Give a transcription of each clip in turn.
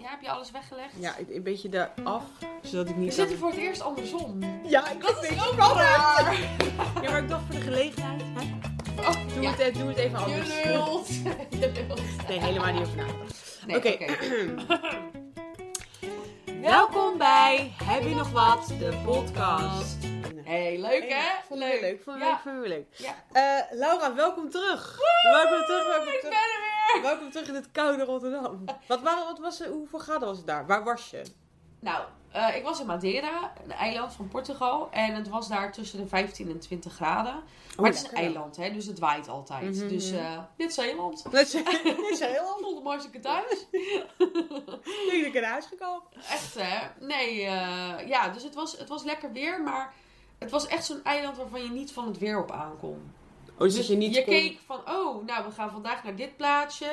Daar heb je alles weggelegd. Ja, een- een beetje eraf, zodat ik niet... We zitten voor het eerst andersom. Ja, ik Dat weet is het. ook raar. Ja, maar ik dacht voor de gelegenheid. Hè? Oh, Doe, ja. het, eh, doe het even Je anders. lult. Je lult. Nee, helemaal niet over nagedacht. Nee, Oké. Welkom bij Heb je nog wat? De podcast. Hey, leuk hè? Vond ik weer leuk, vond ik Ja. leuk, vond ik weer leuk. Ja. Eh, Laura, welkom terug. Welkom terug, welkom Ik ben terug. er weer! Welkom terug in het koude Rotterdam. Wat waren, wat was, hoeveel graden was het daar? Waar was je? Nou, eh, ik was in Madeira, een eiland van Portugal. En het was daar tussen de 15 en 20 graden. Maar het is een eiland, hè, dus het waait altijd. Oh, Mhm. Dus eh, dit is Zeeland. Dat is, dit is heel Ik anders. voelde me hartstikke thuis. Nu ik naar huis gekomen. Echt hè? Nee, eh, ja, dus het was, het was lekker weer, maar het was echt zo'n eiland waarvan je niet van het weer op aankomt. Oh, dus dat je niet kon- keek van, oh, nou we gaan vandaag naar dit plaatsje.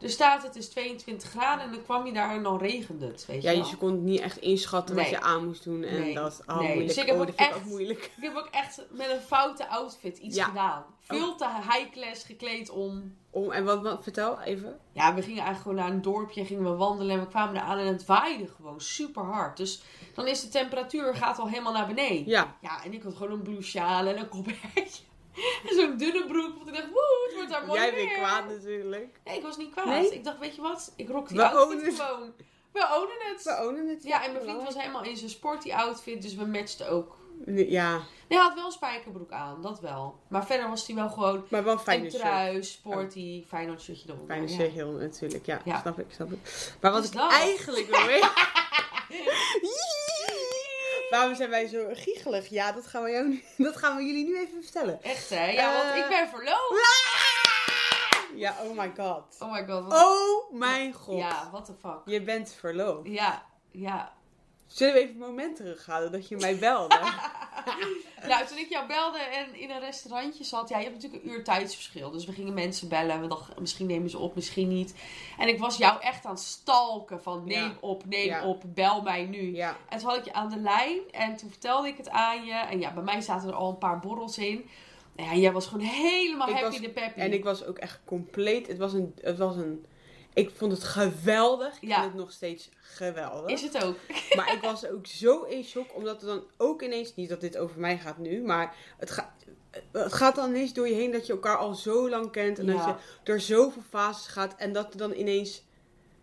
Er staat het is 22 graden en dan kwam je daar en dan regende het, weet Ja, dus je je wel. kon het niet echt inschatten wat Nee. je aan moest doen. En Nee. dat oh, Nee. moeilijk. Dus ik heb oh, ook dat vind ik echt- ook moeilijk. Ik heb ook echt met een foute outfit iets Ja. Oh. gedaan. Veel te high-class gekleed om. Om, Oh, en wat, wat- vertel even. Ja, we gingen eigenlijk gewoon naar een dorpje, gingen we wandelen en we kwamen eraan en het waaide gewoon super hard. Dus dan is de temperatuur gaat al helemaal naar beneden. Ja, Ja, en ik had gewoon een blue sjaal en een kopbertje. En zo'n dunne broek. Want ik dacht, woe, het wordt daar mooi jij weer. bent kwaad natuurlijk. Nee, ik was niet kwaad. Nee? Ik dacht, weet je wat? Ik rok die We outfit ownen het. gewoon. We ownen het. We ownen het. Ja, en mijn vriend was helemaal in zijn sporty outfit. Dus we matchten ook. Nee, Ja, Nee, hij had wel een spijkerbroek aan. Dat wel. Maar verder was hij wel gewoon maar wel fijn een dus. trui, sporty, Feyenoord shirtje eronder. Fijne ja. cirkel natuurlijk, ja, Ja. Snap ik, snap ik. Maar wat Dus ik dat. eigenlijk wil weten... Waarom zijn wij zo giechelig? Ja, dat gaan we, jou nu, dat gaan we jullie nu even vertellen. Echt hè? Ja, want Eh. ik ben verloofd. Ja, oh my god. Oh my god. Wat... Oh mijn god. Ja, what the fuck. Je bent verloofd. Ja, ja. Zullen we even een moment terughalen dat je mij belde? Nou, toen ik jou belde en in een restaurantje zat, ja, je hebt natuurlijk een uur tijdsverschil. Dus we gingen mensen bellen en we dachten, misschien nemen ze op, misschien niet. En ik was jou echt aan het stalken van neem Ja. op, neem Ja. op, bel mij nu. ja. En toen had ik je aan de lijn en toen vertelde ik het aan je. En ja, bij mij zaten er al een paar borrels in. Nou ja, jij was gewoon helemaal Ik happy was- de peppy. En ik was ook echt compleet... Het was een... Het was een ik vond het geweldig. Ik Ja. vind het nog steeds geweldig. Is het ook? Maar ik was ook zo in shock, omdat er dan ook ineens, niet dat dit over mij gaat nu, maar het, ga- het gaat dan ineens door je heen dat je elkaar al zo lang kent en dat Ja. je door zoveel fases gaat en dat er dan ineens,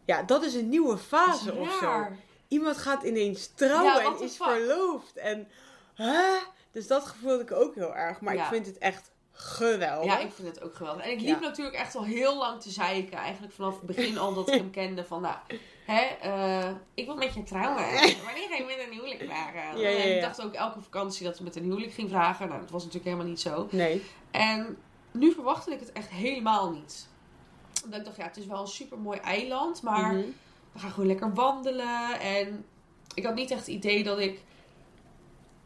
ja, dat is een nieuwe fase Dat is of zo. raar. Iemand gaat ineens trouwen Ja, what en the is fuck? verloofd en, hè? Dus dat gevoel had ik ook heel erg, maar Ja. ik vind het echt geweldig. Ja, ik vind het ook geweldig. En ik liep Ja. natuurlijk echt al heel lang te zeiken. Eigenlijk vanaf het begin al dat ik hem kende. Van nou, hè, eh, ik wil met je trouwen. Wanneer ga je met een huwelijk vragen? Oh. Ja, ja, En ik ja. dacht ook elke vakantie dat we met een huwelijk ging vragen. Nou, dat was natuurlijk helemaal niet zo. Nee, En nu verwachtte ik het echt helemaal niet. Omdat ik dacht, ja, het is wel een super mooi eiland. Maar Mhm. we gaan gewoon lekker wandelen. En ik had niet echt het idee dat ik.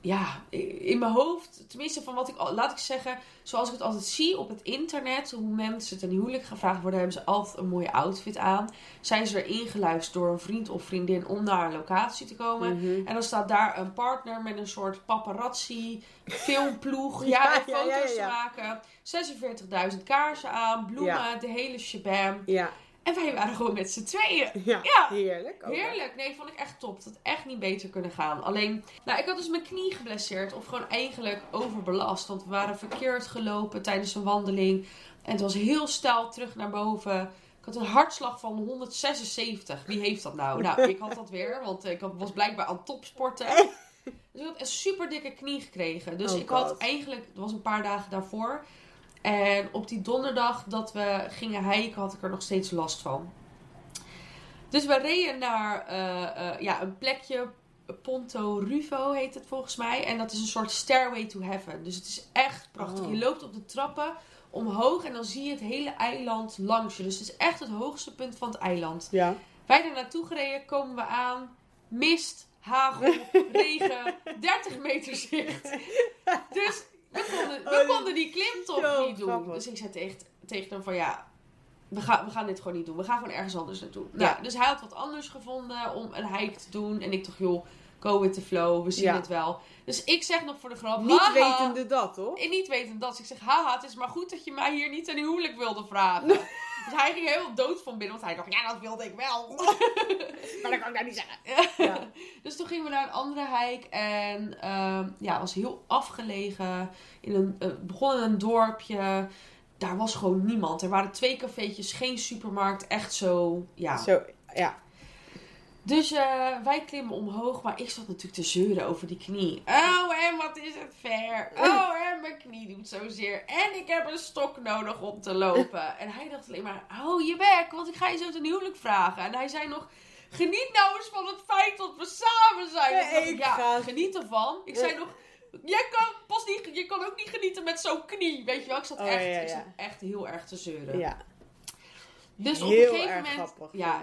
Ja, in mijn hoofd, tenminste van wat ik, al- laat ik zeggen, zoals ik het altijd zie op het internet, hoe mensen ten huwelijk gevraagd worden, hebben ze altijd een mooie outfit aan. Zijn ze er ingeluisterd door een vriend of vriendin om naar een locatie te komen. Mhm. En dan staat daar een partner met een soort paparazzi, filmploeg, ja, Ja, en ja, ja, ja, foto's ja. te maken. 46.000 kaarsen aan, bloemen, Ja. de hele shabam. ja, En wij waren gewoon met z'n tweeën. ja, Ja. heerlijk. ook. Heerlijk. Nee, vond ik echt top. Dat had echt niet beter kunnen gaan. Alleen, nou, ik had dus mijn knie geblesseerd. Of gewoon eigenlijk overbelast. Want we waren verkeerd gelopen tijdens een wandeling. En het was heel stijl terug naar boven. Ik had een hartslag van 176. Wie heeft dat nou? Nou, ik had dat weer. Want ik had- was blijkbaar aan topsporten. Dus ik had een super dikke knie gekregen. Dus Oh ik God. had eigenlijk, het was een paar dagen daarvoor. En op die donderdag dat we gingen hiken, had ik er nog steeds last van. Dus we reden naar eh, eh, ja, een plekje, Ponto Ruvo heet het volgens mij. En dat is een soort stairway to heaven. Dus het is echt prachtig. Oh. Je loopt op de trappen omhoog en dan zie je het hele eiland langs je. Dus het is echt het hoogste punt van het eiland. Ja. Wij daar naartoe gereden, komen we aan. Mist, hagel, regen, 30 meter zicht. Dus we konden, we Oh, konden die klimtocht zo niet doen. grappig. Dus ik zei tegen, tegen hem van ja, we, gaan we gaan dit gewoon niet doen. We gaan gewoon ergens anders naartoe. Nou, Dus hij had wat anders gevonden om een hike te doen. En ik dacht joh, go with the flow, we zien Ja. het wel. Dus ik zeg nog voor de grap, Niet haha. wetende dat, hoor. En niet weten dat. Dus ik zeg, haha, het is maar goed dat je mij hier niet een huwelijk wilde vragen. Dus hij ging helemaal dood van binnen, want hij dacht, ja, dat wilde ik wel. Maar dat kan ik nou niet zeggen. Ja. dus toen gingen we naar een andere hijk en ehm ja, was heel afgelegen. In een, eh, begon in een dorpje. Daar was gewoon niemand. Er waren twee cafeetjes, geen supermarkt, echt zo, ja. Zo, ja. Dus eh, wij klimmen omhoog, maar ik zat natuurlijk te zeuren over die knie. Oh, en wat is het ver. Oh, en mijn knie doet zozeer. En ik heb een stok nodig om te lopen. En hij dacht alleen maar, hou je bek, want ik ga je zo ten huwelijk vragen. En hij zei nog, geniet nou eens van het feit dat we samen zijn. Ja, ik dacht, ik ja, ga- geniet ervan. Ik zei nog, jij kan, pas niet, je kan ook niet genieten met zo'n knie. Weet je wel, ik zat, Oh, echt, ja, ja. Ik zat echt heel erg te zeuren. ja. Dus op Heel een gegeven erg moment. grappig. Ja.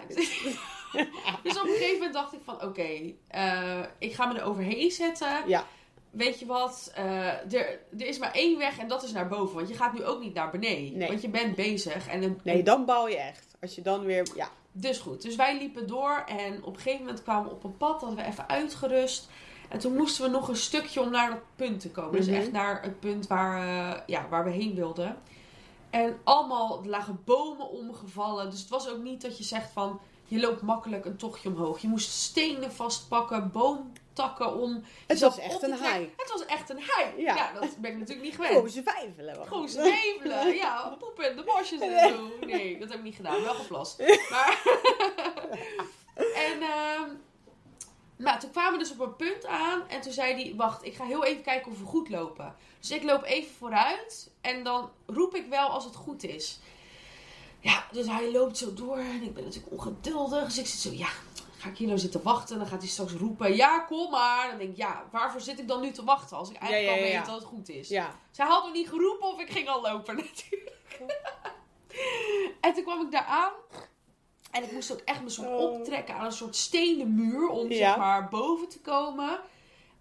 dus op een gegeven moment dacht ik van oké, eh, ik ga me er overheen zetten. Ja. Weet je wat, eh, er, er is maar één weg en dat is naar boven. Want je gaat nu ook niet naar beneden. Nee. Want je bent bezig. En een- Nee, dan bouw je echt. Als je dan weer, ja. Dus goed, dus wij liepen door en op een gegeven moment kwamen we op een pad. Hadden we even uitgerust. En toen moesten we nog een stukje om naar dat punt te komen. Mhm. Dus echt naar het punt waar, eh, ja, waar we heen wilden. En allemaal er lagen bomen omgevallen. Dus het was ook niet dat je zegt van je loopt makkelijk een tochtje omhoog. Je moest stenen vastpakken, boomtakken om. je Het zat was op echt te een trekken. high. Het was echt een hei. Ja. Ja. dat ben ik natuurlijk niet gewend. Gewoon ze vijvelen. wacht. Gewoon zwevelen. Ja, poepen in de bosjes en zo. Nee, dat heb ik niet gedaan. Wel geplast. Maar... en ehm, nou, toen kwamen we dus op een punt aan. En toen zei hij, wacht, ik ga heel even kijken of we goed lopen. Dus ik loop even vooruit. En dan roep ik wel als het goed is. Ja, dus hij loopt zo door. En ik ben natuurlijk ongeduldig. Dus ik zit zo, ja, ga ik hier nou zitten wachten? En dan gaat hij straks roepen, ja, kom maar. Dan denk ik, ja, waarvoor zit ik dan nu te wachten? Als ik eigenlijk ja, ja, al ja. weet dat het goed is. Ja. Zij had me niet geroepen of ik ging al lopen natuurlijk. en toen kwam ik daar aan. En ik moest ook echt me zo Oh. optrekken aan een soort stenen muur om Ja. zeg maar boven te komen.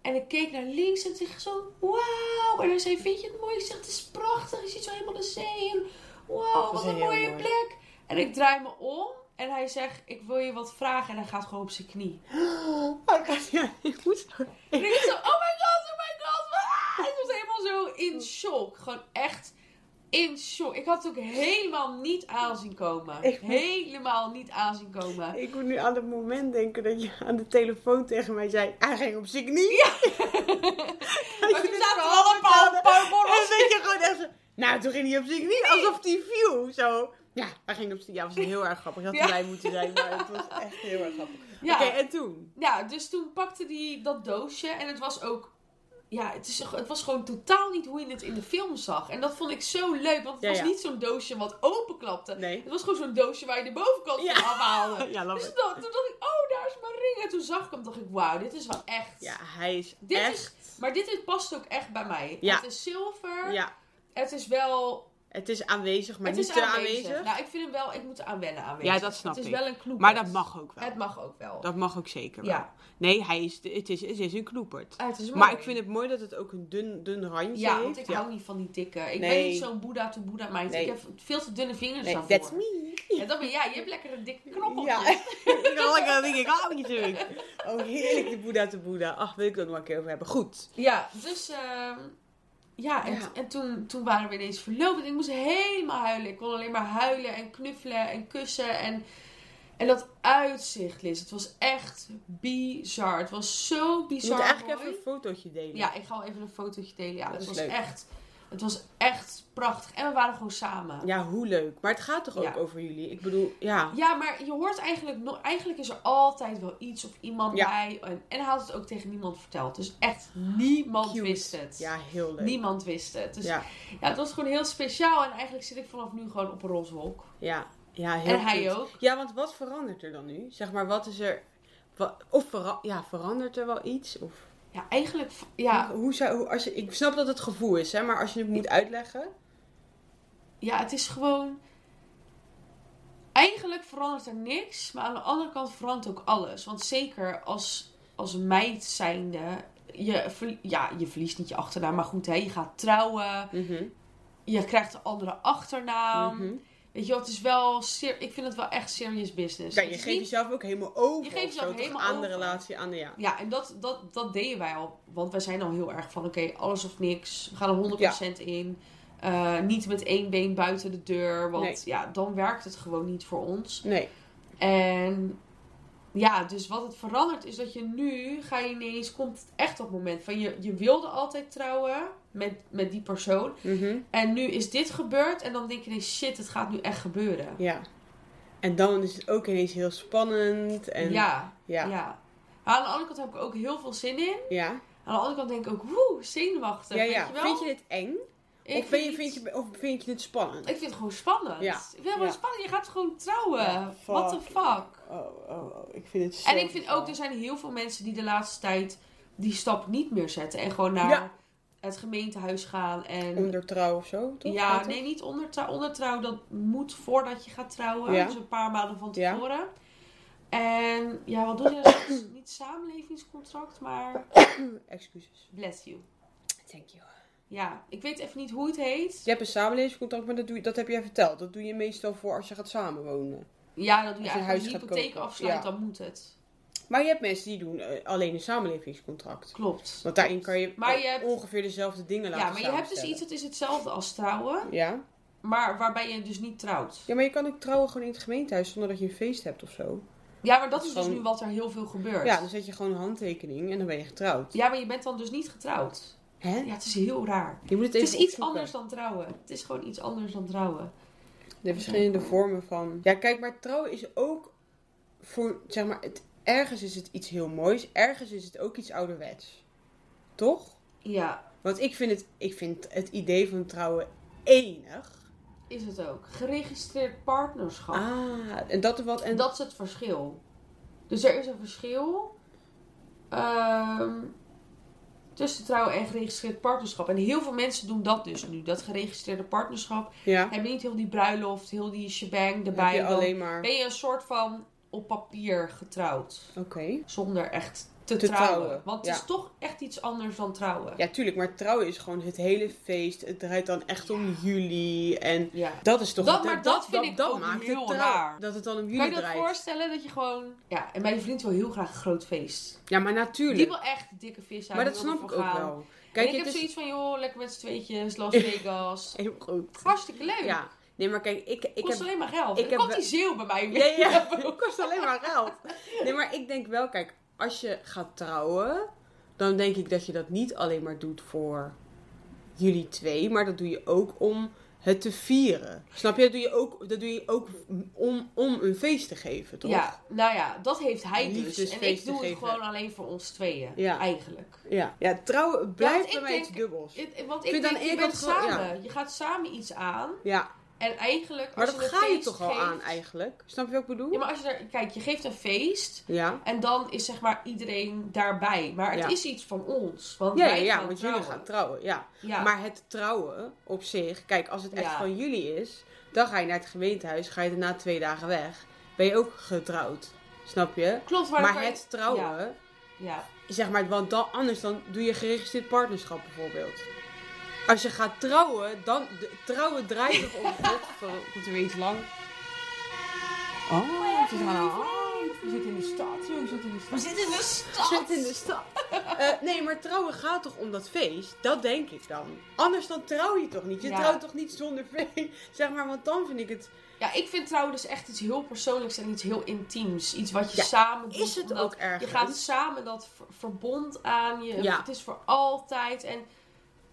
En ik keek naar links en toen zo, wauw. En hij zei, vind je het mooi? Ik zeg, het is prachtig. Je ziet zo helemaal de zee. En wauw, was wat een heel mooie mooi. plek. En ik draai me om en hij zegt, ik wil je wat vragen. En hij gaat gewoon op zijn knie. Oh, dat gaat ja, niet goed. En ik zo, oh my god, oh my god. Ah! Ik was helemaal zo in shock. Gewoon echt in shock. Ik had het ook helemaal niet aanzien komen. Ik- Helemaal niet aanzien komen. Ik moet nu aan het moment denken dat je aan de telefoon tegen mij zei, hij ging op zijn knie. Ja. Maar toen zaten we al een paar, een paar En borrels. dat je gewoon echt zo, nou toen ging hij op zich niet, alsof die viel, zo. Ja, hij ging op zich, ja, was heel erg grappig. Je had Ja. erbij moeten zijn, maar het was echt heel erg grappig. Ja. Oké, en toen? Ja, dus toen pakte hij dat doosje en het was ook... Ja, het, is, het was gewoon totaal niet hoe je het in de film zag. En dat vond ik zo leuk, want het Ja, was ja. niet zo'n doosje wat openklapte. Nee. Het was gewoon zo'n doosje waar je de bovenkant Ja. van afhaalde. Ja, love Dus it. dat, toen dacht ik, oh, daar is mijn ring. En toen zag ik hem, dacht ik, wauw, dit is wel echt. Ja, hij is Dit is- echt... Maar dit is- past ook echt bij mij. Ja. Het is zilver. Ja, Het is wel... het is aanwezig, maar het niet is te aanwezig. aanwezig. Nou, ik vind hem wel... Ik moet er aan wennen aanwezig. Ja, dat snap Het is ik. wel een knoepert. maar dat mag ook wel. Het mag ook wel. Dat mag ook zeker wel. Ja. Nee, hij is, het, is, het is een knoepert. Ah, het is Maar ik vind het mooi dat het ook een dun, dun randje Ja, heeft. want ik hou niet van die dikke. Ik Nee. ben niet zo'n boeddha to boeddha meid. Nee. Ik heb veel te dunne vingers Nee, daarvoor. that's me. Ja, dat ben jij. Je hebt lekker een dikke knoppeltje. Ja, ik wil lekker een dikke kamertje natuurlijk. Oh, heerlijk, de Boeddha te Boeddha. Ach, wil ik het nog een keer over hebben. Goed. Ja, dus ehm, ja, en, Ja. en toen, toen waren we ineens verloofd. En ik moest helemaal huilen. Ik kon alleen maar huilen en knuffelen en kussen. En, en dat uitzicht, Liz. Het was echt bizar. Het was zo Je bizar. moet eigenlijk mooi. even een fotootje delen. Ja, ik ga wel even een fotootje delen. Ja, Dat het is was leuk. echt... Het was echt prachtig. En we waren gewoon samen. Ja, hoe leuk. Maar het gaat toch ook Ja. over jullie? Ik bedoel, ja. Ja, maar je hoort eigenlijk... no- Eigenlijk is er altijd wel iets of iemand Ja. bij. En, en hij had het ook tegen niemand verteld. Dus echt niemand Cute. wist het. Ja, heel leuk. Niemand wist het. Dus Ja, Ja, het was gewoon heel speciaal. En eigenlijk zit ik vanaf nu gewoon op een roze wolk. ja, ja, heel en hij cute. ook. Ja, want wat verandert er dan nu? Zeg maar, wat is er... wa- of vera- ja, verandert er wel iets? Of, Ja, eigenlijk... v- Ja, hoe, hoe zou, hoe- als je, ik snap dat het gevoel is, hè, maar als je het moet uitleggen... ja, het is gewoon... Eigenlijk verandert er niks. Maar aan de andere kant verandert ook alles. Want zeker als, als meid zijnde... Je, verlie- ja, je verliest niet je achternaam. Maar goed, hè, je gaat trouwen. Mhm. Je krijgt een andere achternaam. Mhm. Weet je wel, het is wel... ser- ik vind het wel echt serious business. Ja, Het je is geeft dus niet- jezelf ook helemaal over. Je geeft of jezelf zo, toch? helemaal aan de over. relatie, aan de ja. Ja, en dat, dat, dat deden wij al. Want wij zijn al heel erg van, oké, alles of niks. We gaan er 100% in. Eh, Eh, niet met één been buiten de deur. Want Nee. ja, dan werkt het gewoon niet voor ons. Nee. En ja, dus wat het verandert is dat je nu ga je ineens, komt het echt op het moment van je, je wilde altijd trouwen met, met die persoon. Mhm. En nu is dit gebeurd en dan denk je ineens shit, het gaat nu echt gebeuren. Ja. En dan is het ook ineens heel spannend. En ja. Ja, ja. Ja. Maar aan de andere kant heb ik ook heel veel zin in. ja. Aan de andere kant denk ik ook, woe, zenuwachtig. ja, weet ja. je wel? Vind je dit eng? Ik of, vind je, het- vind je, of vind je dit spannend? Ik vind het gewoon spannend. Ja. Ik vind het gewoon Ja. spannend. Je gaat gewoon trouwen. Ja, fuck. What the fuck? Oh, oh, oh, ik vind het zo En ik vind bizar. ook, dus- er zijn heel veel mensen die de laatste tijd die stap niet meer zetten. En gewoon naar Ja. het gemeentehuis gaan. En Onder trouw of zo, toch? ja, Gaat het? nee, niet onder trouw. Onder trouw, dat moet voordat je gaat trouwen. Ja. Dus een paar maanden van Ja. tevoren. En ja, wat doen ze? Dat is niet samenlevingscontract, maar Excuses. bless you. Thank you. Ja, ik weet even niet hoe het heet. Je hebt een samenlevingscontract, maar dat, doe je, dat heb jij verteld. Dat doe je meestal voor als je gaat samenwonen. Ja, dat doe je Als je eigenlijk. Als je een huis gaat hypotheek kopen. afsluit, Ja. dan moet het. Maar je hebt mensen die doen eh, alleen een samenlevingscontract. Klopt. Want daarin kan je, Maar je hebt- ongeveer dezelfde dingen laten Ja, maar je hebt dus iets samenstellen. dat is hetzelfde als trouwen, Ja? maar waarbij je dus niet trouwt. ja, maar je kan ook trouwen gewoon in het gemeentehuis zonder dat je een feest hebt of zo. Ja, maar dat is dus Gewoon- nu wat er heel veel gebeurt. Ja, dus- dan zet je gewoon een handtekening en dan ben je getrouwd. Ja, maar je bent dan dus niet getrouwd. Hè? Ja, het is heel raar. Je moet het Het even is iets opzoeken. anders dan trouwen. Het is gewoon iets anders dan trouwen. De verschillende vormen van. Ja, kijk, maar trouwen is ook voor, zeg maar, het, ergens is het iets heel moois, ergens is het ook iets ouderwets. Toch? Ja, Want ik vind het, ik vind het idee van trouwen enig. is het ook. Geregistreerd partnerschap. Ah, en dat wat. En En, dat is het verschil. Dus er is een verschil ehm, tussen trouwen en geregistreerd partnerschap. En heel veel mensen doen dat dus nu. Dat geregistreerde partnerschap. ja, Hebben niet heel die bruiloft, heel die shebang dan heb erbij. je Dan alleen maar. ben je een soort van op papier getrouwd. Oké. Zonder echt te, Te trouwen. trouwen, Want ja. het is toch echt iets anders dan trouwen. Ja, tuurlijk, maar trouwen is gewoon het hele feest. Het draait dan echt om jullie. En Ja. dat is toch. Dat- maar dat vind ik ook heel het trouw- raar. Dat het dan om Kan je jullie dat draait. voorstellen dat je gewoon... Ja, en mijn vriend wil heel graag een groot feest. Ja, maar Die natuurlijk. wil echt dikke vis zijn. maar dat die wil snap ik ervoor ook gaan. wel. Kijk, Kijk, ik het heb is zoiets van, joh, lekker met z'n tweetjes, Las Vegas. heel goed. Hartstikke leuk. Ja. Nee, maar kijk, ik, ik Kost heb... alleen maar geld. ik Ik heb komt wel- die zeeuw bij mij Ja, weer. ja, het kost alleen maar geld. Nee, maar ik denk wel, kijk, als je gaat trouwen, dan denk ik dat je dat niet alleen maar doet voor jullie twee, maar dat doe je ook om het te vieren. Snap je? Dat doe je ook, dat doe je ook om, om een feest te geven, toch? Ja, nou ja, dat heeft hij dus. En ik Liefdesfeesten doe het geven. gewoon alleen voor ons tweeën, Ja. eigenlijk. Ja, ja trouwen blijft ik bij mij denk- iets dubbels. Het- Want ik Vind denk, aan je één bent kant gewoon- samen. Je gaat samen iets aan. Ja, En eigenlijk, maar als dat je een ga je feest toch al geeft- aan eigenlijk? Snap je wat ik bedoel? Ja, maar als je er... Kijk, je geeft een feest. Ja. En dan is zeg maar iedereen daarbij. Maar het Ja. is iets van ons. Want Ja, ja, wij ja, gaan want trouwen. jullie gaan trouwen, ja. Ja. Maar het trouwen op zich, kijk, als het echt Ja. van jullie is, dan ga je naar het gemeentehuis, ga je daarna twee dagen weg, ben je ook getrouwd. Snap je? Klopt, maar, Maar, dan kan je- het trouwen, Ja. zeg maar, want dan, anders dan doe je geregistreerd partnerschap bijvoorbeeld. Als je gaat trouwen, dan de- trouwen draait toch om. Godver- Komt er weer iets lang? Oh, ze gaan al. We zitten in de stad, joh, we zitten in de We stad. zitten in de stad. Zit in de stad. Eh, nee, maar trouwen gaat toch om dat feest? Dat denk ik dan. Anders dan trouw je toch niet? Je Ja. trouwt toch niet zonder feest? Zeg maar, want dan vind ik het... Ja, ik vind trouwen dus echt iets heel persoonlijks en iets heel intiems. Iets wat je Ja, samen doet. Is het omdat ook erg? Je gaat samen dat ver- verbond aan. Je, Ja. Het is voor altijd. En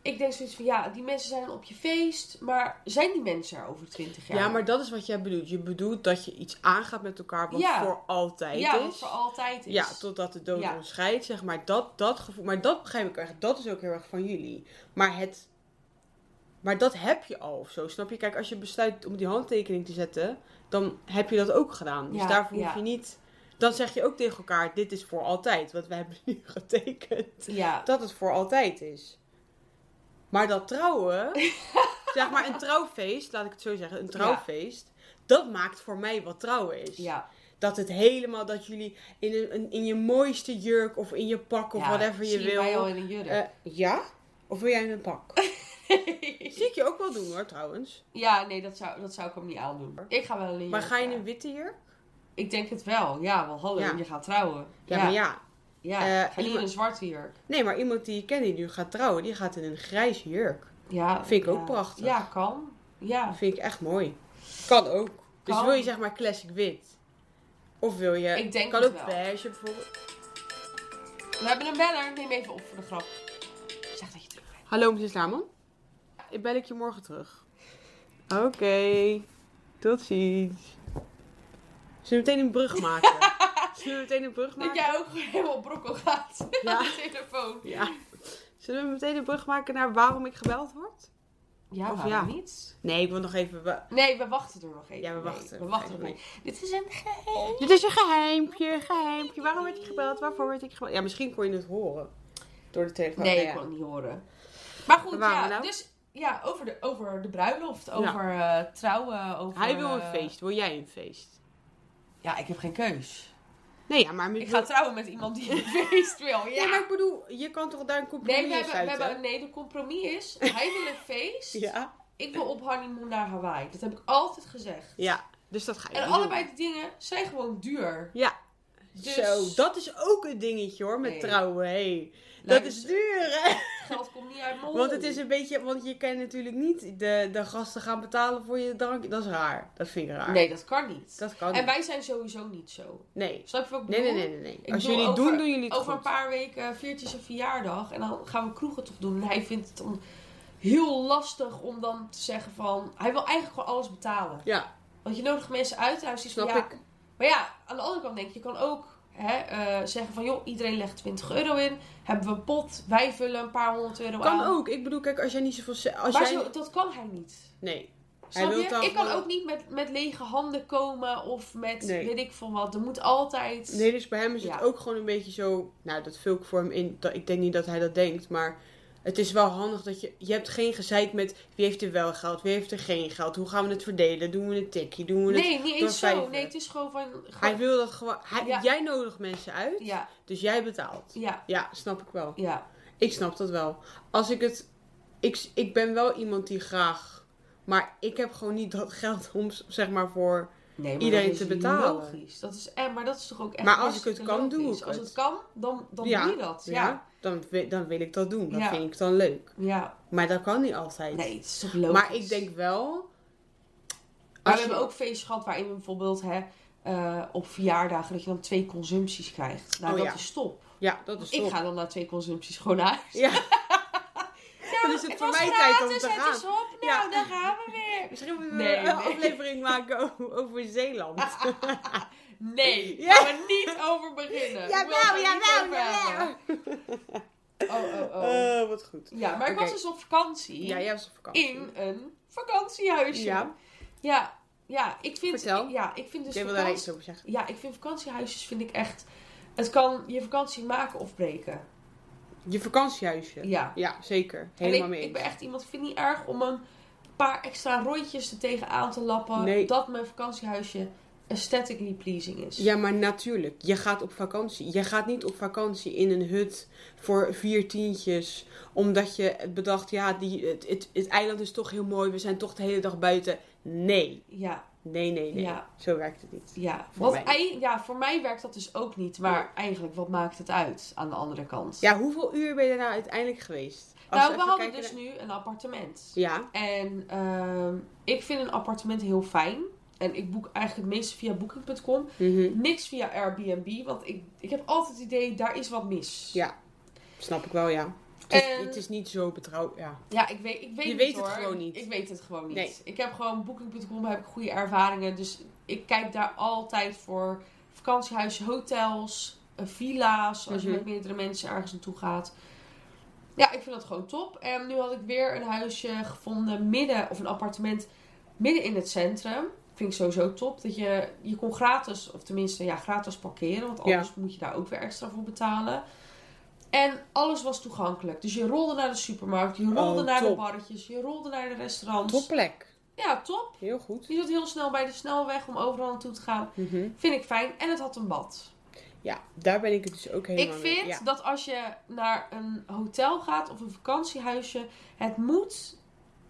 ik denk zoiets van, ja, die mensen zijn op je feest. Maar zijn die mensen er over twintig jaar? Ja, maar dat is wat jij bedoelt. Je bedoelt dat je iets aangaat met elkaar wat Ja. voor altijd ja, wat is. voor altijd is. Ja, totdat de dood Ja. ons scheidt, zeg maar. Dat, dat gevoel... Maar dat begrijp ik echt. Dat is ook heel erg van jullie. Maar het... Maar dat heb je al of zo, snap je? Kijk, als je besluit om die handtekening te zetten, dan heb je dat ook gedaan. Dus Ja, daarvoor ja. hoef je niet... Dan zeg je ook tegen elkaar, dit is voor altijd. Want we hebben nu getekend Ja. dat het voor altijd is. Maar dat trouwen, zeg maar een trouwfeest, laat ik het zo zeggen, een trouwfeest, dat maakt voor mij wat trouwen is. Ja, Dat het helemaal, dat jullie in, een, een- in je mooiste jurk of in je pak of ja, whatever je zie Mij al wil. in een jurk. Eh, ja? Of wil jij in een pak? Zie ik je ook wel doen hoor, trouwens. ja, nee, dat zou, dat zou ik hem niet aandoen. Ik ga wel in een jurk. Maar ga je in ja. een witte jurk? Ik denk het wel. Ja, wel hallo, Ja. je gaat trouwen. Ja, maar ja. Ja, Eh, ga niet in iemand- een zwarte jurk. Nee, maar iemand die je kent die nu gaat trouwen, die gaat in een grijze jurk. Ja, Vind ik ook ja. prachtig. Ja, kan. Ja. Vind ik echt mooi. Kan ook. Dus Kan. wil je zeg maar classic wit? Of wil je... Ik denk kan het ook wel. beige bijvoorbeeld. We hebben een beller. Neem even op voor de grap. Zeg dat je terug bent. Hallo meneer Slaman. Ik bel ik je morgen terug. Oké. Tot ziens. Zullen we meteen een brug maken? Zullen we meteen een brug Dat maken? jij ook gewoon helemaal op brokkel gaat. Ja. Aan de telefoon. Ja. Zullen we meteen een brug maken naar waarom ik gebeld word? Ja, Of waarom ja. niet? Nee, ik wil nog even... wa- Nee, we wachten er nog even Ja, we mee. wachten. We wachten er nog mee. Dit is een geheim. Dit is een geheimpje, een geheimpje. Waarom werd ik gebeld? Waarvoor werd ik gebeld? Ja, misschien kon je het horen. Door de telefoon. Nee, Nou ik ja. kon het niet horen. Maar goed, Waar waren ja. we nou? Dus ja, over de, over de bruiloft, over eh, trouwen, over... Hij wil een eh, feest. Wil jij een feest? Ja, ik heb geen keus. Nee, ja, maar... Ik ga trouwen met iemand die een feest wil. Ja. Ja, maar ik bedoel, je kan toch daar een compromis Nee, in we hebben, we sluiten? hebben, nee, de compromis is, hij wil een feest, Ja. ik wil op honeymoon naar Hawaii. Dat heb ik altijd gezegd. Ja, dus dat ga je En niet doen. allebei die dingen zijn gewoon duur. Ja. Dus Zo, dat is ook een dingetje hoor, met Nee. trouwen. Hey. Dat Luister. is duur, hè? het geld komt niet uit mijn Want hol. het is een beetje... Want je kan natuurlijk niet de, de gasten gaan betalen voor je drankje. Dat is raar. Dat vind ik raar. Nee, dat kan niet. Dat kan En niet. wij zijn sowieso niet zo. Nee. Snap je wat ik Nee, bedoel? nee, nee, nee. nee. Ik Als bedoel, jullie het over- doen, doen jullie het Over een goed. paar weken viert hij zijn verjaardag. En dan gaan we kroegen toch doen. En hij vindt het dan heel lastig om dan te zeggen van... Hij wil eigenlijk gewoon alles betalen. Ja, Want je nodigt mensen uit. Hij is van, snap ja, ik. Maar ja, aan de andere kant denk ik, je kan ook hè, eh, zeggen van... joh, iedereen legt 20 euro in. Hebben we een pot. Wij vullen een paar honderd euro Kan aan. ook. Ik bedoel, kijk, als jij niet zoveel... ze- Als maar jij... zo- dat kan hij niet. Nee. Hij Snap wil je? dan Ik kan gewoon- ook niet met, met lege handen komen. Of met Nee. weet ik veel wat. Er moet altijd... Nee, dus bij hem is het Ja. ook gewoon een beetje zo... Nou, dat vul ik voor hem in. Dat, ik denk niet dat hij dat denkt, maar... Het is wel handig dat je... Je hebt geen gezeik met wie heeft er wel geld, wie heeft er geen geld. Hoe gaan we het verdelen? Doen we een tikje? Doen we het... Nee, niet door eens zo. vijven. Nee, het is gewoon van... gewoon- Hij wil dat gewoon... Hij, Ja. Jij nodigt mensen uit, Ja, dus jij betaalt. ja, Ja, snap ik wel. ja. Ik snap dat wel. Als ik het... Ik, ik ben wel iemand die graag... Maar ik heb gewoon niet dat geld om, zeg maar, voor... Nee, Iedereen dat is te betalen. Logisch. Dat is, en, maar dat is toch ook echt. Maar als ik hartstikke het kan, doe logisch. ik Als het. het kan, dan, dan Ja, doe je dat. Ja. ja. Dan, wi- dan wil ik dat doen. Dat Ja. vind ik dan leuk. Maar dat kan niet altijd. Nee, het is toch logisch. Maar ik denk wel. Maar we je- hebben ook feestjes gehad waarin we bijvoorbeeld hè, eh, op verjaardagen dat je dan twee consumpties krijgt. Nou, Oh, dat ja. is top. Ja, dat is Ik top. ga dan na twee consumpties gewoon naar huis. Ja. Dan is Nou, het voor mij tijd om te gratis, gaan. Het is op. Nou, Ja. daar gaan we weer. Misschien moeten we Nee, een nee. aflevering maken o- over, Zeeland. Nee, Ja. gaan nou, we niet over beginnen. Ik wil het er niet over hebben. Oh, oh, nou, oh. Eh, wat goed. ja, maar ik Oké. was dus op vakantie. Ja, jij was op vakantie. in een vakantiehuisje. Ja. Ja, ja, ik vind... Vertel. Ja, ik vind dus jij wil daar vakantie- iets over zeggen. Ja, ik vind vakantiehuisjes vind ik echt... Het kan je vakantie maken of breken. Je vakantiehuisje. Ja. Ja, zeker. En Helemaal ik, mee. ik eens. ben echt iemand... Ik vind het niet erg om een paar extra rondjes er tegenaan te lappen... Nee. dat mijn vakantiehuisje aesthetically pleasing is. Ja, maar natuurlijk. Je gaat op vakantie. Je gaat niet op vakantie in een hut voor vier tientjes. Omdat je bedacht, ja, die, het, het, het eiland is toch heel mooi. We zijn toch de hele dag buiten. Nee. Ja, Nee, nee, nee. Ja. Zo werkt het niet. ja. Voor Voor, mij. ja, voor mij werkt dat dus ook niet. Maar eigenlijk, wat maakt het uit aan de andere kant? Ja, hoeveel uur ben je daar nou uiteindelijk geweest? Als nou, we even hadden kijken dus naar- nu een appartement. Ja, En ehm, ik vind een appartement heel fijn. En ik boek eigenlijk het meeste via booking.com. mhm. Niks via Airbnb, want ik, ik heb altijd het idee, daar is wat mis. Ja. snap ik wel, ja. Het is, En- het is niet zo betrouw. Ja. Ja, ik weet, ik weet, Je niet, weet het hoor. gewoon niet. Ik weet het gewoon niet. Nee. Ik heb gewoon booking.com, heb ik goede ervaringen. Dus ik kijk daar altijd voor vakantiehuizen, hotels, eh, villa's. Als je Mhm. met meerdere mensen ergens naartoe gaat. Ja, ik vind dat gewoon top. En nu had ik weer een huisje gevonden midden, of een appartement midden in het centrum. Vind ik sowieso top. Dat je, je kon gratis, of tenminste ja, gratis parkeren. Want anders moet je daar ook weer extra voor betalen. En alles was toegankelijk. Dus je rolde naar de supermarkt, je rolde Oh, naar de top. barretjes, je rolde naar de restaurants. Topplek. Ja, top. Heel goed. Je zat heel snel bij de snelweg om overal naartoe te gaan. Mhm. Vind ik fijn. En het had een bad. Ja, daar ben ik het dus ook helemaal ik mee. vind Ja. dat als je naar een hotel gaat of een vakantiehuisje, het moet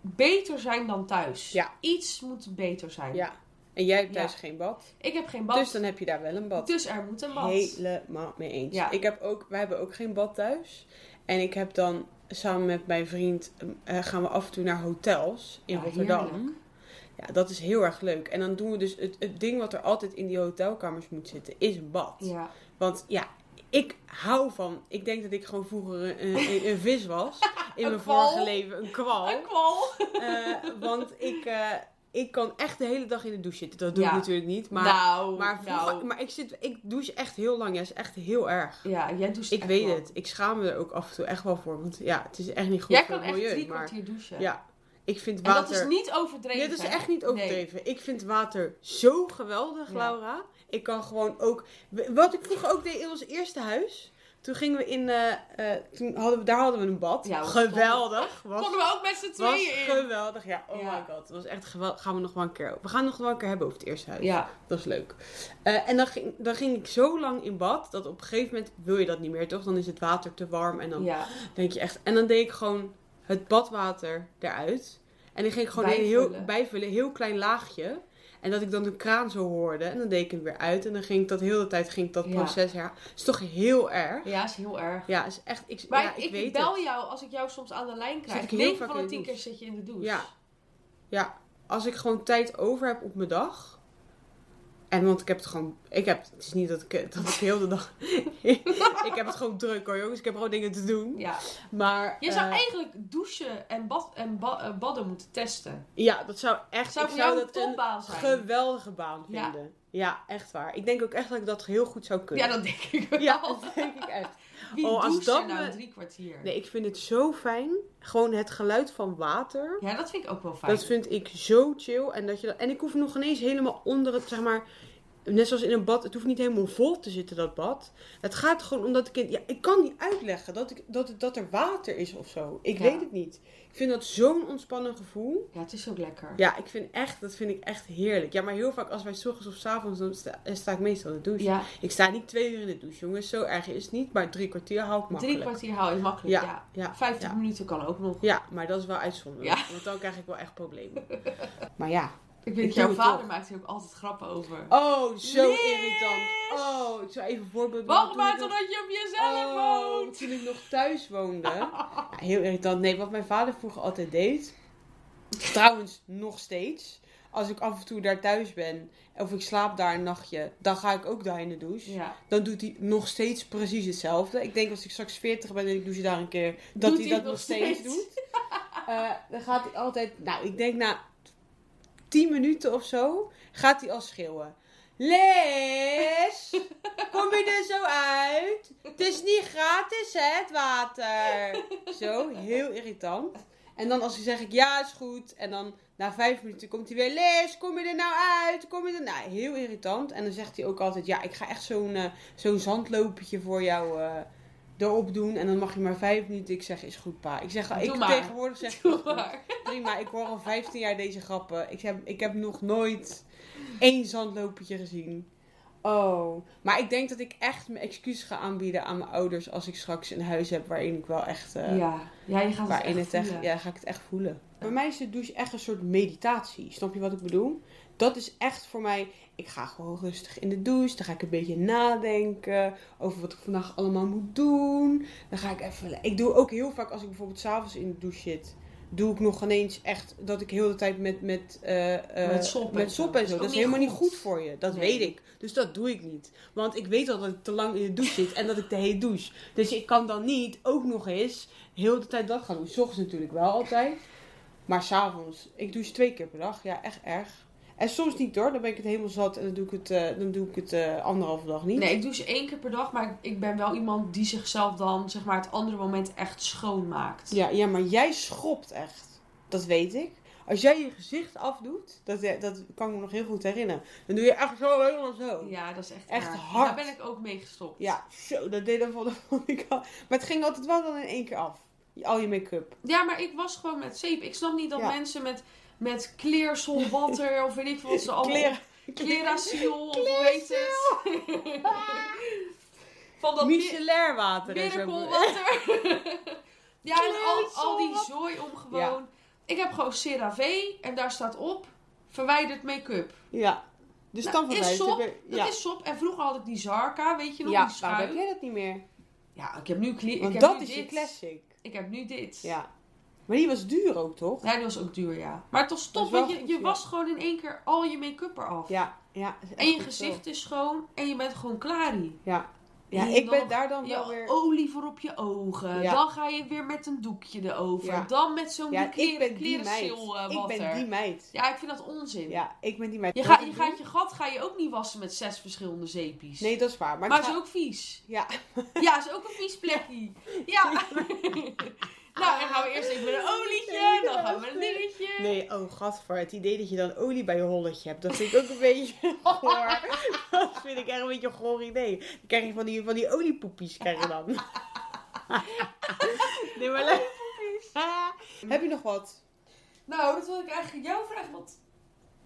beter zijn dan thuis. Ja. Iets moet beter zijn. ja. En jij hebt Ja. thuis geen bad. Ik heb geen bad. Dus dan heb je daar wel een bad. Dus er moet een bad. Helemaal mee eens. Ja. Ik heb ook, wij hebben ook geen bad thuis. En ik heb dan samen met mijn vriend eh, gaan we af en toe naar hotels in Ja, Rotterdam. heerlijk. Ja, dat is heel erg leuk. En dan doen we dus het, het ding wat er altijd in die hotelkamers moet zitten, is een bad. Ja. Want ja, ik hou van. Ik denk dat ik gewoon vroeger een, een, een vis was. In Een mijn kwal. vorige leven, een kwal. Een kwal. Eh, want ik, eh, ik kan echt de hele dag in de douche zitten. Dat doe Ja. ik natuurlijk niet. Maar, nou, maar, vroeger- nou. maar ik, zit, ik douche echt heel lang. Ja, is echt heel erg. Ja, jij doucht Ik echt weet wel. het. Ik schaam me er ook af en toe echt wel voor. Want ja, het is echt niet goed Jij voor kan het echt milieu. drie maar kwartier douchen. ja, ik vind En water... dat is niet overdreven. Dit is hè? echt niet overdreven. Ik vind water zo geweldig, Ja. Laura. Ik kan gewoon ook. Wat ik vroeger ook deed in ons eerste huis. Toen gingen we in. eh, eh, toen hadden we, daar hadden we een bad. Ja, we geweldig. Was, Konden we ook met z'n was tweeën in. geweldig. Ja, oh Ja. my god. Het was echt geweldig. Gaan we nog wel een keer. We gaan nog wel een keer hebben over het eerste huis. Ja, Dat is leuk. Eh, en dan ging, dan ging ik zo lang in bad. Dat op een gegeven moment wil je dat niet meer, toch? Dan is het water te warm. En dan ja. Denk je echt. En dan deed ik gewoon het badwater eruit. En dan ging ik gewoon een heel Bijvullen. bijvullen, een heel klein laagje. En dat ik dan de kraan zo hoorde. En dan deed ik hem weer uit. En dan ging ik dat heel de tijd ging ik dat Ja. proces her. is toch heel erg. ja, is heel erg. Ja, is echt. Ik, Maar ja, ik, ik, weet bel het. jou als ik jou soms aan de lijn ik krijg. heel 9 vaak van in de de 10 keer douche. zit je in de douche. Ja. Ja, als ik gewoon tijd over heb op mijn dag. En want ik heb het gewoon. Ik heb, het is niet dat ik, dat ik heel de dag. ik heb het gewoon druk hoor, jongens. Ik heb gewoon dingen te doen. Ja. Maar. Je zou eh, eigenlijk douchen en, bad, en ba- eh, badden moeten testen. Ja, dat zou echt. Zou ik voor jou een dat een- topbaan zijn. geweldige baan Ja. vinden. Ja. echt waar. Ik denk ook echt dat ik dat heel goed zou kunnen. Ja, dat denk ik wel. Ja, dat denk ik echt. Wie Oh, als doucht dat er nou me- drie kwartier? Nee, ik vind het zo fijn. Gewoon het geluid van water. Ja, dat vind ik ook wel fijn. Dat vind ik zo chill. En, dat je dat, en ik hoef nog ineens helemaal onder het, zeg maar... Net zoals in een bad, het hoeft niet helemaal vol te zitten, dat bad. Het gaat gewoon omdat ik... in- ja, ik kan niet uitleggen dat, ik, dat, het- dat er water is of zo. Ik Ja. weet het niet. Ik vind dat zo'n ontspannen gevoel. Ja, het is ook lekker. Ja, ik vind echt, dat vind ik echt heerlijk. Ja, maar heel vaak als wij 's ochtends of 's avonds, dan sta, eh, sta ik meestal in de douche. Ja, Ik sta niet twee uur in de douche, jongens. Zo erg is het niet, maar drie kwartier hou ik makkelijk. drie kwartier haal je makkelijk. Ja. ja, 50 ja. minuten kan ook nog. Ja, maar dat is wel uitzonderlijk. Ja. Want dan krijg ik wel echt problemen. maar ja. Ik weet, Ik jouw doe het vader toch. maakt hier ook altijd grappen over. Oh, zo Lies! irritant. Oh, ik zou even een voorbeeld Waarom noemen. maakt Toen dan ik dat je op nog- jezelf Oh, woont? Toen ik nog thuis woonde. Ja, heel irritant. Nee, wat mijn vader vroeger altijd deed. Trouwens, nog steeds. Als ik af en toe daar thuis ben. Of ik slaap daar een nachtje. Dan ga ik ook daar in de douche. Ja. dan doet hij nog steeds precies hetzelfde. Ik denk als ik straks 40 ben en ik doe ze daar een keer, dat hij dat nog steeds, doet. Eh, dan gaat hij altijd, nou, ik denk na 10 minuten of zo, gaat hij al schreeuwen. Les, kom je er zo uit? Het is niet gratis, hè, het water. Zo, heel irritant. En dan als ik zeg ik ja, is goed. En dan na vijf minuten komt hij weer. Les, kom je er nou uit? Kom je er nou? Heel irritant. En dan zegt hij ook altijd: Ja, ik ga echt zo'n eh, zo'n zandlopetje voor jou eh, erop doen. En dan mag je maar vijf minuten. Ik zeg: Is goed, pa. Ik zeg: Doe Ik maar. tegenwoordig zeg Doe "Goed, maar. prima. Ik hoor al 15 jaar deze grappen. Ik heb, ik heb nog nooit één zandlopetje gezien. Oh, maar ik denk dat ik echt mijn excuus ga aanbieden aan mijn ouders als ik straks een huis heb waarin ik wel echt eh, Ja. ja, je gaat het Waarin echt het echt, voelen. ja, ga ik het echt voelen. Bij mij is de douche echt een soort meditatie. Snap je wat ik bedoel? Dat is echt voor mij. Ik ga gewoon rustig in de douche. Dan ga ik een beetje nadenken over wat ik vandaag allemaal moet doen. Dan ga ik even. Ik doe ook heel vaak als ik bijvoorbeeld s'avonds in de douche zit. Doe ik nog ineens echt dat ik heel de tijd met, met, eh, eh, Met sop en met zo. sop en zo. Is Dat ook is niet helemaal niet goed. goed voor je. Dat Nee. weet ik. Dus dat doe ik niet. Want ik weet al dat ik te lang in de douche zit en dat ik te heet douche. Dus ik kan dan niet ook nog eens heel de tijd dat gaan doen. 's ochtends natuurlijk wel altijd. Maar s'avonds. Ik douche twee keer per dag. Ja, echt erg. En soms niet hoor. Dan ben ik het helemaal zat en dan doe ik het, eh, dan doe ik het eh, anderhalve dag niet. Nee, ik douche één keer per dag, maar ik- ik ben wel iemand die zichzelf dan zeg maar het andere moment echt schoonmaakt. Ja, ja, maar jij schopt echt. Dat weet ik. Als jij je gezicht afdoet, dat, eh, dat kan ik me nog heel goed herinneren. Dan doe je echt zo helemaal zo. Ja, dat is echt, Echt erg. hard. Daar ben ik ook mee gestopt. Ja, zo, dat deed dan van de ik al. Maar het ging altijd wel dan in één keer af. Al je make-up. Ja, maar ik was gewoon met zeep. Ik snap niet dat Ja. mensen met, met kleersel, water of weet ik veel wat ze allemaal... Kleren. Clearasil, of hoe heet het? Ah. Van dat mi- Michelair water. en zo. miracle-water. ja, en al, al die Clearasil. zooi om gewoon... Ja. Ik heb gewoon CeraVe en daar staat op... Verwijderd make-up. Ja. Dus Nou, dan van is mij. sop, Dat Ja, is sop. En vroeger had ik die Zarka, weet je nog? ja die waarom heb schuim. jij dat niet meer? Ja, ik heb nu... Cle- ik Want heb dat nu is je dit. classic. ik heb nu dit. Ja. Maar die was duur ook, toch? Ja, die was ook duur, ja. Maar het was Dat top, is wel want je, goed, je ja. was gewoon in één keer al je make-up eraf. Ja. ja is echt En je goed zo. gezicht is schoon en je bent gewoon klaar. hier. Ja. Ja, oh, Je ik ben nog- daar dan Je wel weer... olie voor op je ogen. Ja. Dan ga je weer met een doekje erover. Ja. Dan met zo'n Ja, ik ben kleren, die meid. klerensil, eh, Ik ben water. die meid. Ja, ik vind dat onzin. Ja, ik ben die meid. Je, Wat ga, ik je doe- gaat je gat ga je ook niet wassen met zes verschillende zeepies. Nee, dat is waar. Maar, maar ik is ga- ook vies. Ja. Ja, is ook een vies plekje. Ja. nou, dan gaan we eerst even met een olietje. Dan gaan we met een dingetje. Nee, oh gadver. Het idee dat je dan olie bij je holletje hebt, dat vind ik ook een beetje goor. Dat vind ik echt een beetje een goor idee. Dan krijg je van die, van die oliepoepies, krijg je dan. Nee, maar leuk. Heb je nog wat? Nou, dat wil ik eigenlijk jou vragen. Want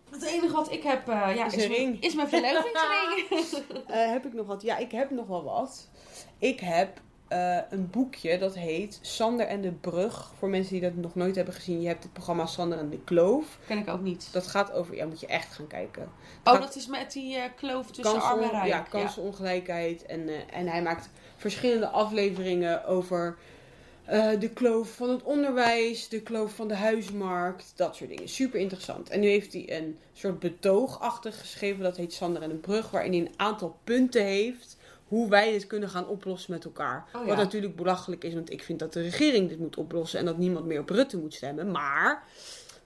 het enige wat ik heb eh, ja, Is is, een mijn, ring. is mijn verlovingsring. Eh, heb ik nog wat? Ja, ik heb nog wel wat. Ik heb eh, een boekje dat heet Sander en de Brug. Voor mensen die dat nog nooit hebben gezien, je hebt het programma Sander en de Kloof. Ken ik ook niet. Dat gaat over, ja, moet je echt gaan kijken. Oh, gaat- dat is met die eh, kloof tussen arm en kansen, rijk. ja, kansenongelijkheid. En, eh, en hij maakt verschillende afleveringen over eh, de kloof van het onderwijs, de kloof van de huismarkt, dat soort dingen. Super interessant. En nu heeft hij een soort betoogachtig geschreven, dat heet Sander en de Brug, waarin hij een aantal punten heeft hoe wij dit kunnen gaan oplossen met elkaar. Oh ja. Wat natuurlijk belachelijk is, want ik vind dat de regering dit moet oplossen en dat niemand meer op Rutte moet stemmen. Maar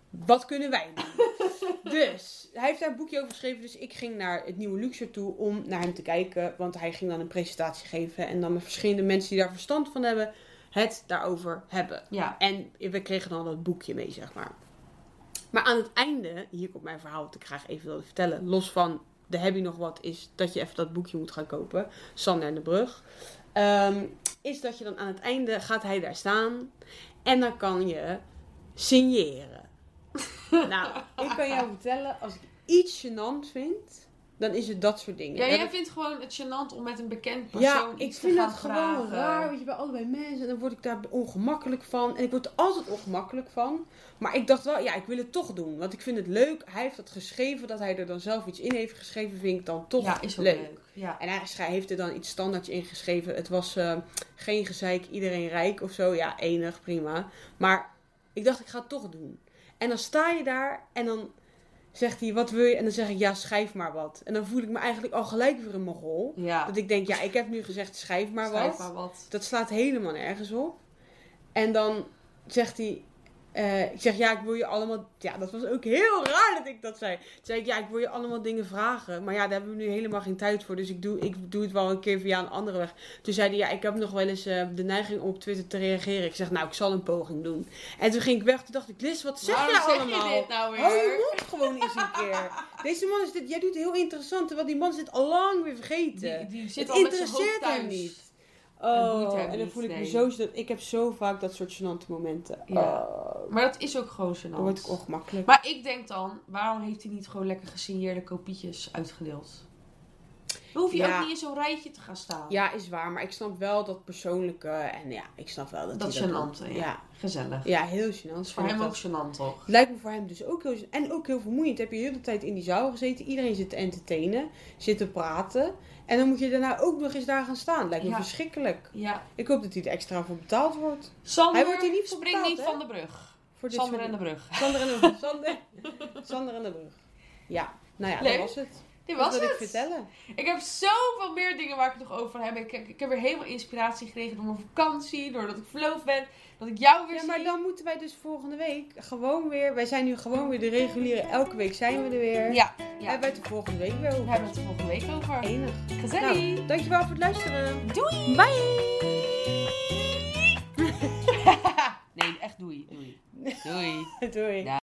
wat kunnen wij doen? dus, hij heeft daar een boekje over geschreven, dus ik ging naar het Nieuwe Luxor toe om naar hem te kijken. Want hij ging dan een presentatie geven en dan met verschillende mensen die daar verstand van hebben, het daarover hebben. Ja. En we kregen dan dat boekje mee, zeg maar. Maar aan het einde, hier komt mijn verhaal wat ik graag even wilde vertellen. Los van, de heb je nog wat, is dat je even dat boekje moet gaan kopen. Sander en de Brug. Ehm, is dat je dan aan het einde, gaat hij daar staan. En dan kan je signeren. nou, ik kan jou vertellen, als ik iets gênant vind, dan is het dat soort dingen. Ja, Dat jij het- vindt gewoon het gênant om met een bekend ja, persoon ik iets vind te gaan dat gewoon vragen. raar. Weet je, bij allebei mensen. En dan word ik daar ongemakkelijk van. En ik word er altijd ongemakkelijk van. Maar ik dacht wel, ja, ik wil het toch doen. Want ik vind het leuk. Hij heeft dat geschreven. Dat hij er dan zelf iets in heeft geschreven, vind ik dan toch ja, is ook leuk. leuk. Ja. En hij schij- heeft er dan iets standaards in geschreven. Het was eh, geen gezeik, iedereen rijk of zo. Ja, enig, prima. Maar ik dacht, ik ga het toch doen. En dan sta je daar en dan zegt hij, wat wil je? En dan zeg ik, ja, schrijf maar wat. En dan voel ik me eigenlijk al gelijk weer een mogol. ja. Dat ik denk, ja, ik heb nu gezegd, schrijf maar wat. Ah, dus Schrijf maar wat. Dat slaat helemaal nergens op. En dan zegt hij, eh, ik zeg, ja, ik wil je allemaal... Ja, dat was ook heel raar dat ik dat zei. Toen zei ik, ja, ik wil je allemaal dingen vragen. Maar ja, daar hebben we nu helemaal geen tijd voor. Dus ik doe, ik doe het wel een keer via een andere weg. Toen zei hij, ja, ik heb nog wel eens eh, de neiging om op Twitter te reageren. Ik zeg, nou, ik zal een poging doen. En toen ging ik weg. Toen dacht ik, Liz, wat zeg Waarom jij zeg allemaal? je dit nou weer? Hou je mond gewoon eens een keer. Deze man is dit, jij doet heel interessant. Terwijl die man is dit al lang weer vergeten. Die, die zit Het al met zijn interesseert hoofd hem thuis. niet. Het boeit Oh, hem en dan niet, voel ik me nee. zo... gênant. Ik heb zo vaak dat soort gênante momenten. Ja. Oh, Maar dat is ook gewoon dan word ik gênant. ongemakkelijk. Maar ik denk dan, waarom heeft hij niet gewoon lekker gesigneerde kopietjes uitgedeeld? Dan hoef je Ja. ook niet in zo'n rijtje te gaan staan. Ja, is waar. Maar ik snap wel dat persoonlijke... En ja, ik snap wel dat Dat hij gênant, doet. hè? Ja. Gezellig. ja, heel gênant. Dat is voor vind ik hem dat. ook gênant, toch? Lijkt me voor hem dus ook heel... gênant. En ook heel vermoeiend. Heb je heel de tijd in die zaal gezeten. Iedereen zit te entertainen. Zit te praten. En dan moet je daarna ook nog eens daar gaan staan. Lijkt me Ja. verschrikkelijk. Ja. Ik hoop dat hij er extra voor betaald wordt. Sander, Hij wordt er niet voor spring betaald, niet hè? van de brug. Voor dit Sander soort en de brug. Sander en de Brug. Sander, Sander en de Brug. Ja, nou ja, Leuk. dat was het. Dit dat was wil het. ik vertellen. Ik heb zoveel meer dingen waar ik het nog over van heb. Ik, ik, ik heb weer helemaal inspiratie gekregen door mijn vakantie, doordat ik verloofd ben, dat ik jou weer Ja, zie. maar dan moeten wij dus volgende week gewoon weer... Wij zijn nu gewoon weer de reguliere... Elke week zijn we er weer. Ja, We ja. hebben het de volgende week weer we over. hebben het er volgende week over. Enig. Gezellig. Nou, dankjewel voor het luisteren. Doei! Bye! nee, echt doei. Doei. Doei. Doei.